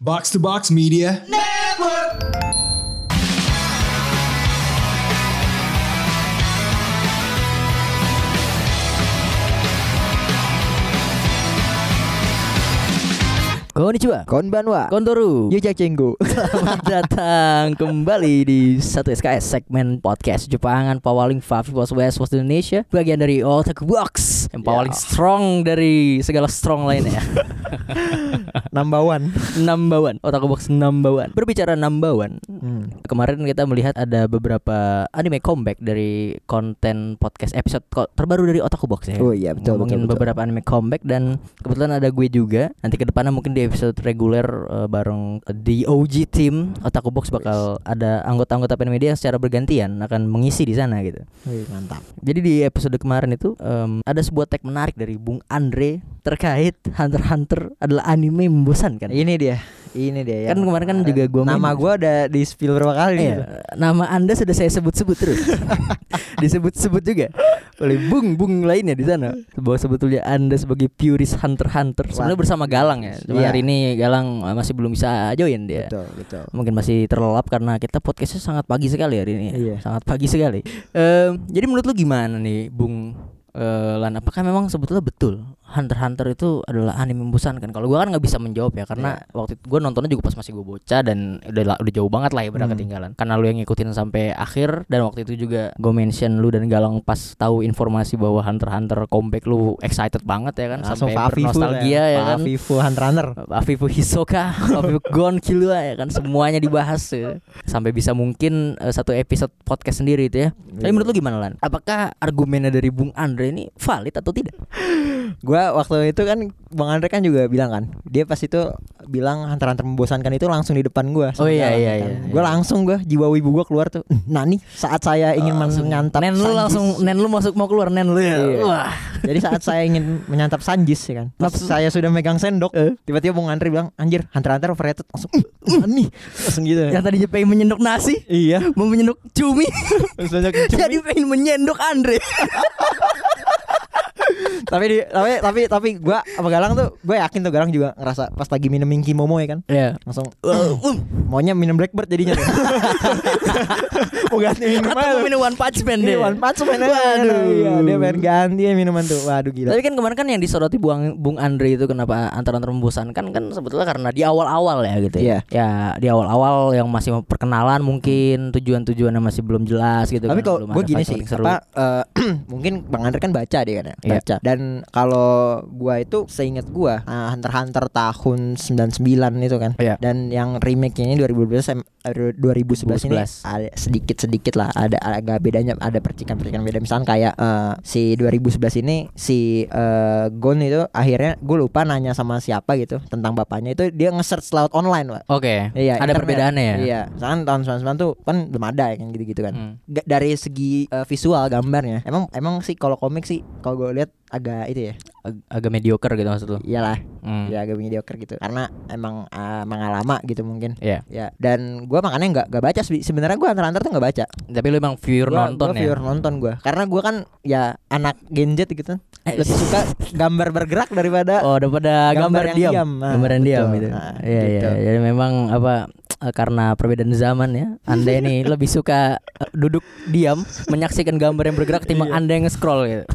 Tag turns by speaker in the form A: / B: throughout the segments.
A: Box to Box Media.
B: Konnichiwa
C: Konbanwa
B: Kontoru
C: Yuja Cenggu
B: Selamat datang kembali di 1SKS segmen podcast Jepangan Pawaling Favibos West West Indonesia Bagian dari Otaku Box Yang paling
C: Ya.
B: strong dari segala strong lainnya
C: Number one
B: Number one Otaku Box number one Berbicara number one
C: hmm.
B: Kemarin kita melihat ada beberapa anime comeback dari konten podcast episode ko- terbaru dari Otaku Box ya
C: Oh iya betul
B: ngomongin
C: betul, betul.
B: beberapa anime comeback dan kebetulan ada gue juga nanti ke depannya mungkin di episode reguler eh, bareng di OG team Otaku Box bakal ada anggota-anggota media yang secara bergantian akan mengisi di sana gitu.
C: Wih, Mantap
B: Jadi di episode kemarin itu em, ada sebuah tag menarik dari Bung Andre terkait Hunter x Hunter adalah anime yang membosankan.
C: Kan Ini dia Ini dia
B: Kan
C: yang-
B: kemarin kan juga gua
C: Nama
B: main.
C: gua udah di spill berapa kali gitu. nih.
B: Iya, nama Anda sudah saya sebut-sebut terus. Disebut-sebut juga oleh bung-bung lainnya di sana. Bahwa sebetulnya Anda sebagai purist hunter-hunter sebenarnya
C: Wah.
B: bersama Galang ya. Cuma
C: Iya.
B: hari ini Galang eh, masih belum bisa join dia.
C: Betul betul
B: Mungkin masih terlelap karena kita podcastnya sangat pagi sekali hari ini. ya.
C: Iya.
B: Sangat pagi sekali. Em, jadi menurut lu gimana nih, Bung eh, Lan? Apakah memang sebetulnya betul Hunter x Hunter itu adalah anime membosankan? Kalau gua kan nggak bisa menjawab ya, karena
C: Iya.
B: waktu itu gua nontonnya juga pas masih gua bocah dan udah la- udah jauh banget lah ya berada
C: Hmm.
B: ketinggalan. Karena lu yang ngikutin sampai akhir dan waktu itu juga gua mention lu dan Galang pas tahu informasi bahwa Hunter x Hunter comeback lu excited banget ya kan,
C: Langsung
B: sampai bernostalgia ya kan.
C: Fafifu Hunter Runner
B: Afifu Hisoka, Afifu Gon Killua ya kan semuanya dibahas ya. Sampai bisa mungkin eh, satu episode podcast sendiri itu ya. Tapi
C: Iya.
B: menurut lu gimana Lan? Apakah argumennya dari Bung Andre ini valid atau tidak?
C: Gua waktu itu kan Bang Andre kan juga bilang kan Dia pas itu Bilang Hunter Hunter membosankan itu Langsung di depan gua sama
B: Oh, iya,
C: jalan,
B: iya,
C: kan.
B: iya,
C: Gua
B: iya.
C: langsung gua Jiwa wibu gua keluar tuh Nah nih Saat saya ingin menyantap
B: Nen lu
C: sanjis.
B: langsung nen lu masuk mau keluar nen lu ya.
C: Iya.
B: Wah.
C: Jadi saat saya ingin menyantap sanjis ya kan. Pas
B: Nafsu.
C: saya sudah megang sendok, tiba-tiba Bung Andri bilang, "Anjir, Hunter x Hunter overrated." Langsung "Uh, nih, langsung gitu.
B: Yang tadi dia pengen menyendok nasi,
C: iya,
B: mau menyendok cumi,
C: langsung aja kecil.
B: jadi pengen menyendok Andre.
C: tapi di, tapi tapi tapi gua apa Galang tuh, gue yakin tuh Galang juga ngerasa pas lagi minum Minky Momo ya kan.
B: Iya.
C: Langsung
B: Um,
C: maunya minum Blackbird jadinya. tuh. Mau Iya, ganti minuman.
B: atau
C: tuh.
B: mau minum One Punch Man
C: Ini
B: deh.
C: One Punch Man aja,
B: Waduh.
C: Iya, dia pengen ganti ya minuman tuh. Waduh gila.
B: Tapi kan kemarin kan yang disoroti Bung, Bung Andre itu kenapa antar-antar membosankan kan sebetulnya karena di awal-awal ya gitu
C: Iya.
B: ya. Ya di awal-awal yang masih mau perkenalan mungkin tujuan-tujuannya masih belum jelas gitu
C: Tapi
B: kan,
C: kalau
B: belum
C: gue
B: ada
C: gini sih,
B: faktor yang seru.
C: apa eh, mungkin Bang Andre kan baca dia kan ya,
B: Iya.
C: baca. Dan kalau gua itu seingat gua eh, Hunter x Hunter tahun 99 itu kan.
B: Iya.
C: Dan yang remake-nya ini 2012 em- eh, 2011 ini
B: 2011.
C: ada sedikit-sedikit lah ada agak bedanya ada percikan-percikan beda misalkan kayak eh, si 2011 ini si eh, Gon itu akhirnya gue lupa nanya sama siapa gitu tentang bapaknya itu dia nge-search laut online, Wak.
B: Oke.
C: Iya,
B: ada
C: internet.
B: perbedaannya ya.
C: Iya, misalkan tahun 99 tuh kan belum ada ya kan gitu-gitu kan.
B: Hmm.
C: Ga- dari segi eh, visual gambarnya emang emang sih kalau komik sih kalau gue lihat agak itu ya
B: Ag- agak mediocre gitu maksud lu.
C: iyalah
B: Hmm.
C: ya agak mediocre gitu karena emang eh, mengalama gitu mungkin
B: Iya.
C: ya dan gue makanya nggak nggak baca sih sebenarnya gue antar-antar tuh nggak baca
B: Tapi lu emang viewer
C: Gua-
B: nonton
C: gua
B: ya.
C: viewer nonton gue karena gue kan ya anak Gen Z gitu lebih suka gambar bergerak daripada
B: Eh. Oh, daripada gambar,
C: yang
B: diam.
C: Nah,
B: Gambaran
C: betul.
B: diam gitu.
C: Nah,
B: Iya, iya.
C: gitu.
B: Jadi memang apa eh, karena perbedaan zaman ya. Anda ini lebih suka eh, duduk diam menyaksikan gambar yang bergerak timbang Anda yang nge-scroll gitu.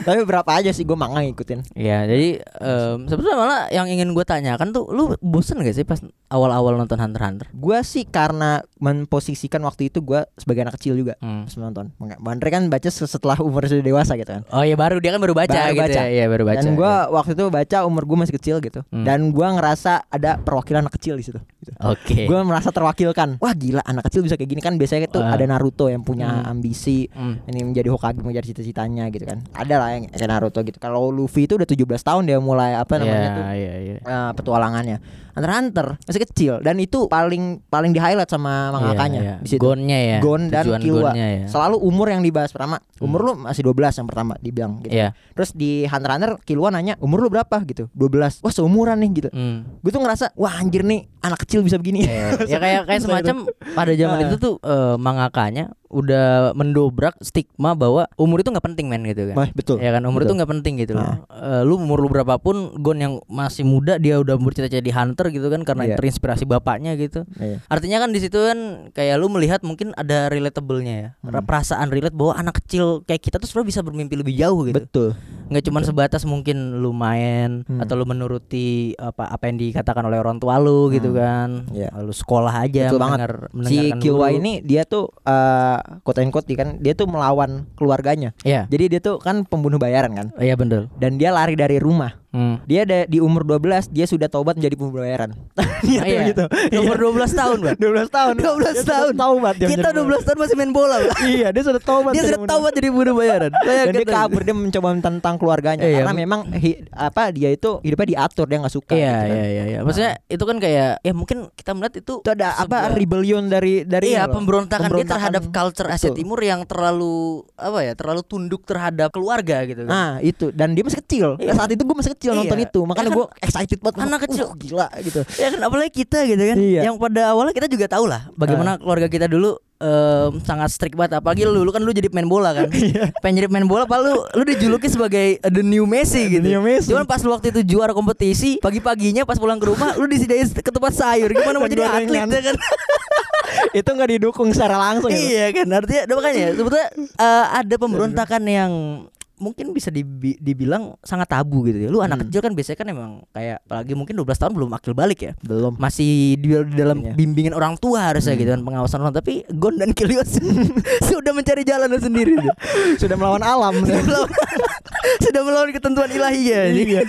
C: tapi berapa aja sih gue manga ngikutin
B: Iya, jadi em, sebetulnya malah yang ingin gue tanyakan tuh lu bosen gak sih pas awal-awal nonton Hunter x Hunter?
C: gue sih karena memposisikan waktu itu gue sebagai anak kecil
B: Hmm.
C: juga pas menonton Maka- Andre kan baca setelah umur sudah dewasa gitu kan
B: Oh iya baru dia kan baru baca
C: Baru
B: gitu
C: baca.
B: ya. Iya, baru baca.
C: dan gue
B: iya.
C: waktu itu baca umur gue masih kecil gitu
B: Hmm.
C: dan gue ngerasa ada perwakilan anak kecil di situ
B: Oke.
C: gue merasa terwakilkan wah gila anak kecil bisa kayak gini kan biasanya tuh
B: Wah.
C: ada Naruto yang punya
B: Hmm.
C: ambisi
B: Hmm.
C: ini menjadi Hokage mengejar cita-citanya gitu kan ada lah yang kayak Naruto gitu kalau Luffy itu udah 17 tahun dia mulai apa namanya
B: Iya,
C: tuh
B: iya, iya.
C: eh, petualangannya Hunter x Hunter masih kecil dan itu paling paling di highlight sama mangakanya
B: Iya, iya.
C: di situ
B: Gonnya ya.
C: Gon dan
B: Tujuan
C: Killua.
B: Gonnya ya. Hmm.
C: selalu umur yang dibahas pertama umur lu masih 12 yang pertama dibilang gitu
B: Iya.
C: Terus di Hunter x Hunter Kilua nanya umur lu berapa gitu 12 Wah seumuran nih gitu
B: Hmm.
C: Gue tuh ngerasa wah anjir nih anak kecil bisa begini
B: ya kayak kayak semacam pada zaman
C: Ah.
B: itu tuh eh, mangakanya udah mendobrak stigma bahwa umur itu nggak penting men gitu kan.
C: Wah, betul
B: Ya kan umur itu
C: betul.
B: nggak penting gitu loh.
C: Ah.
B: Eh, lu umur lu berapapun Gon yang masih muda dia udah bercita-cita jadi hunter gitu kan karena
C: Iya.
B: terinspirasi bapaknya gitu.
C: Iya.
B: Artinya kan di situ kan kayak lu melihat mungkin ada relatable-nya ya.
C: Hmm.
B: Perasaan relate bahwa anak kecil kayak kita tuh sebenarnya bisa bermimpi lebih jauh gitu.
C: betul
B: nggak cuman sebatas mungkin lu main
C: Hmm.
B: atau lu menuruti apa apa yang dikatakan oleh orang tua lu gitu kan
C: Iya.
B: lu sekolah aja
C: Betul banget. si Kilwa ini dia tuh eh quote and quote dia kan dia tuh melawan keluarganya
B: ya
C: jadi dia tuh kan pembunuh bayaran kan
B: iya bener
C: dan dia lari dari rumah
B: hmm.
C: dia ada di umur 12 dia sudah tobat menjadi pembunuh bayaran dia
B: Ah, iya.
C: gitu.
B: umur 12 tahun Bang.
C: 12 tahun
B: 12
C: Dia sudah
B: tahun.
C: taubat dia
B: kita
C: menjadi pembunuh
B: 12 tahun masih main bola Bang.
C: bayaran. iya dia sudah tobat
B: dia
C: jadi
B: sudah
C: pembunuh
B: tahu jadi bunuh bayaran gitu.
C: dan dia
B: Bayangkan.
C: kabur dia mencoba tentang keluarganya
B: Iya.
C: karena memang hi- apa dia itu hidupnya diatur dia nggak suka
B: iya
C: gitu kan.
B: iya iya iya. maksudnya itu kan kayak ya mungkin kita melihat itu
C: itu ada apa
B: sebuah-
C: rebellion dari dari
B: Iya
C: ini loh.
B: pemberontakan, dia
C: Pemberontakan.
B: terhadap culture Asia
C: Betul.
B: Timur yang terlalu apa ya terlalu tunduk terhadap keluarga gitu kan.
C: nah itu dan dia masih kecil
B: Iya.
C: saat itu gue masih kecil nonton
B: Iya.
C: itu makanya
B: Ya kan,
C: gue excited banget
B: anak kecil.
C: "Uh, gila gitu
B: ya kan apalagi kita gitu kan
C: Iya. Ah.
B: yang pada awalnya kita juga tahu lah bagaimana keluarga kita dulu em, sangat strict banget apalagi lu, lu kan lu jadi pemain bola kan
C: Iya.
B: pengen jadi pemain bola apa lu lu dijuluki sebagai eh, the new Messi gitu
C: new Messi.
B: cuman pas lu waktu itu juara kompetisi pagi paginya pas pulang ke rumah lu disediain ketupat sayur gimana mau
C: Dan
B: jadi atlet
C: gorengan.
B: ya kan
C: itu nggak didukung secara langsung gitu.
B: iya kan artinya nah, makanya sebetulnya eh, ada pemberontakan yang mungkin bisa dibi- dibilang sangat tabu gitu ya lu anak
C: Hmm.
B: kecil kan biasanya kan emang kayak apalagi mungkin 12 tahun belum akil balik ya
C: belum
B: masih di di dalam
C: Iya. Hmm.
B: bimbingan orang tua harusnya gitu kan pengawasan orang tapi Gon dan Kilios sudah mencari jalan sendiri tuh.
C: sudah melawan alam
B: sudah melawan, sudah melawan ketentuan ilahi ya
C: Iya.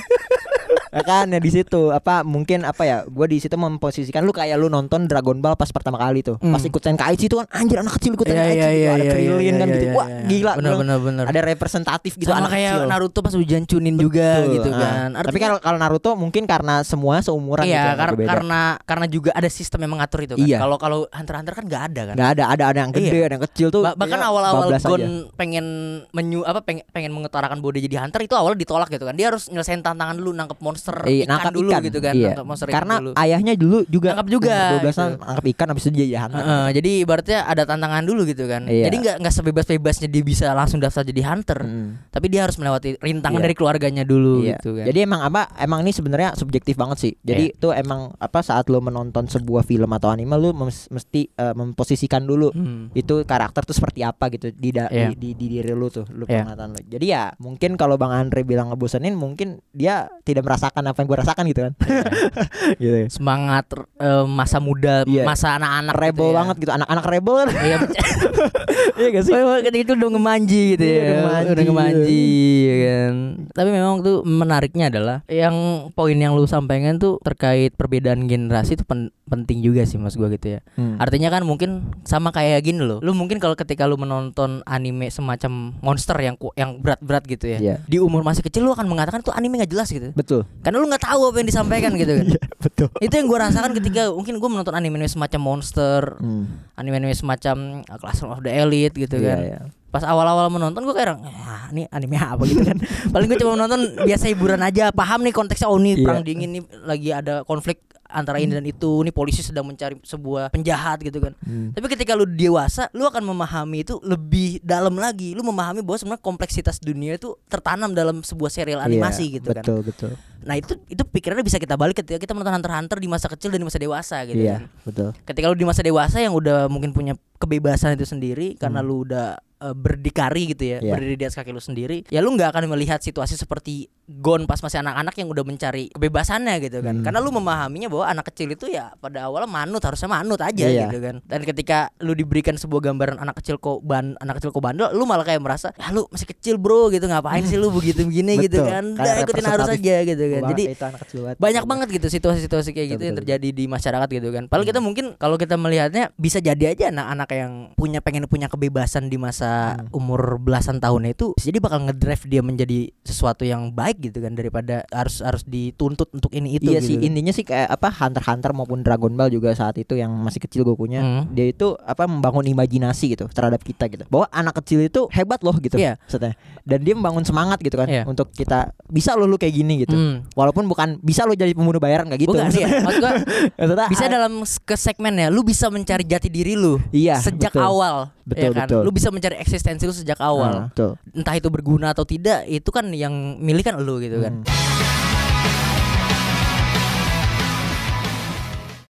C: Ya kan ya di situ apa mungkin apa ya gue di situ memposisikan lu kayak lu nonton Dragon Ball pas pertama kali tuh
B: Hmm. Iya,
C: pas ikut Tenkaichi itu kan anjir anak kecil ikut Tenkaichi gitu, ada Krillin kan gitu wah gila
B: bener
C: gua bilang,
B: bener bener
C: ada representatif gitu
B: gitu iya. sama
C: anak
B: kayak
C: kecil.
B: Naruto pas hujan cunin juga
C: Betul,
B: gitu
C: ah.
B: kan
C: tapi
B: Artinya-
C: kalau kalau Naruto mungkin karena semua seumuran gitu
B: iya
C: yang
B: kar-
C: berbeda.
B: karena karena juga ada sistem yang mengatur itu kan
C: Iya.
B: kalau kalau Hunter x Hunter kan nggak ada kan
C: nggak ada ada ada yang gede
B: Iya.
C: ada yang kecil tuh
B: Ba- bahkan
C: ya,
B: awal-awal
C: bablas
B: Gon
C: aja.
B: pengen menyu apa peng- pengen mengutarakan bahwa dia jadi hunter itu awalnya ditolak gitu kan. Dia harus nyelesain tantangan dulu nangkep monster
C: Iya,
B: ikan
C: nangkap
B: dulu
C: ikan.
B: gitu kan,
C: Iya.
B: nangkep monster ikan
C: karena
B: dulu.
C: ayahnya dulu juga
B: Nangkap juga,
C: umur 12 tahun
B: gitu.
C: nangkap ikan habis itu dia jahat
B: Heeh, jadi ibaratnya ada tantangan dulu gitu kan.
C: Iya. Hmm.
B: Jadi nggak nggak sebebas-bebasnya dia bisa langsung daftar jadi hunter, tapi dia harus melewati rintangan
C: Iya.
B: dari keluarganya dulu
C: Iya.
B: gitu kan. Iya.
C: Jadi emang apa emang ini sebenarnya subjektif banget sih. Jadi itu emang apa saat lo menonton sebuah film atau anime lo mes- mesti eh, memposisikan dulu
B: Hmm.
C: itu karakter tuh seperti apa gitu di da-
B: Iya.
C: di, di, di diri lu tuh lu
B: Iya.
C: penglihatan lu. Jadi ya mungkin kalau Bang Andre bilang ngebosenin mungkin dia tidak merasakan apa yang gue rasakan gitu kan. gitu.
B: Iya.
C: ya.
B: Semangat eh, masa muda,
C: Iya.
B: masa anak-anak gitu
C: Rebel
B: ya.
C: banget gitu anak-anak rebel kan.
B: Iya.
C: Iya gak sih?
B: Wah, ketika itu udah ngemanji gitu
C: Iya,
B: ya
C: ngemanji.
B: Udah ngemanji ya kan Tapi memang tuh menariknya adalah Yang poin yang lu sampaikan tuh Terkait perbedaan generasi itu pen- penting juga sih mas gua gitu ya
C: Hmm.
B: Artinya kan mungkin sama kayak gini loh Lu mungkin kalau ketika lu menonton anime semacam monster yang ku- yang berat-berat gitu ya
C: Iya.
B: Di umur masih kecil lu akan mengatakan tuh anime gak jelas gitu
C: Betul.
B: Karena lu gak tahu apa yang disampaikan gitu kan
C: Betul.
B: Itu yang gua rasakan ketika mungkin gua menonton anime semacam monster Anime-anime semacam uh, Classroom of the Elite gitu
C: Hmm. Iya,
B: kan
C: iya.
B: pas awal-awal menonton gue kayak orang, ah ini anime apa gitu kan paling gue cuma menonton biasa hiburan aja paham nih konteksnya oh ini
C: Iya.
B: perang dingin nih lagi ada konflik antara ini dan itu nih polisi sedang mencari sebuah penjahat gitu kan
C: Hmm.
B: tapi ketika lu dewasa lu akan memahami itu lebih dalam lagi lu memahami bahwa sebenarnya kompleksitas dunia itu tertanam dalam sebuah serial animasi
C: Iya,
B: gitu kan
C: Betul, betul.
B: nah itu itu pikirannya bisa kita balik ketika kita menonton Hunter x Hunter di masa kecil dan di masa dewasa gitu kan
C: Iya, betul.
B: ketika lu di masa dewasa yang udah mungkin punya kebebasan itu sendiri karena lu udah eh, berdikari gitu ya
C: Hmm. Iya.
B: berdiri di atas kaki lu sendiri ya lu nggak akan melihat situasi seperti Gon pas masih anak-anak yang udah mencari kebebasannya gitu kan
C: Hmm.
B: karena lu memahaminya bahwa anak kecil itu ya pada awalnya manut harusnya manut aja
C: Iya.
B: gitu kan dan ketika lu diberikan sebuah gambaran anak kecil kok ban anak kecil kok bandel lu malah kayak merasa ya lu masih kecil bro gitu ngapain sih lu begitu begini gitu
C: Betul.
B: kan
C: Kayak
B: udah ikutin arus
C: representatif
B: aja gitu kan
C: Banget,
B: jadi
C: itu anak kecil
B: banyak banget gitu situasi-situasi kayak
C: Iya, Betul, Hmm.
B: gitu yang
C: betul.
B: terjadi di masyarakat gitu kan. Padahal kita mungkin kalau kita melihatnya bisa jadi aja anak-anak anak-anak yang punya pengen punya kebebasan di masa
C: Hmm.
B: umur belasan tahunnya itu bisa jadi bakal ngedrive dia menjadi sesuatu yang baik gitu kan daripada harus harus dituntut untuk ini itu
C: iya
B: gitu.
C: sih intinya sih kayak apa Hunter x Hunter maupun Dragon Ball juga saat itu yang masih kecil gue punya
B: Hmm.
C: dia itu apa membangun imajinasi gitu terhadap kita gitu bahwa anak kecil itu hebat loh gitu
B: Iya.
C: maksudnya dan dia membangun semangat gitu kan
B: Iya.
C: untuk kita bisa loh lu kayak gini gitu
B: Hmm.
C: walaupun bukan bisa lo jadi pembunuh bayaran nggak gitu
B: Bukan iya. Maksud gua,
C: Maksudnya,
B: bisa
C: ah,
B: dalam s- ke segmennya lu bisa mencari jati diri lu
C: iya
B: sejak
C: betul.
B: awal ya
C: Betul,
B: kan
C: betul.
B: lu bisa mencari eksistensi lu sejak awal
C: Ah, betul
B: entah itu berguna atau tidak itu kan yang milikan lu gitu kan
C: Hmm.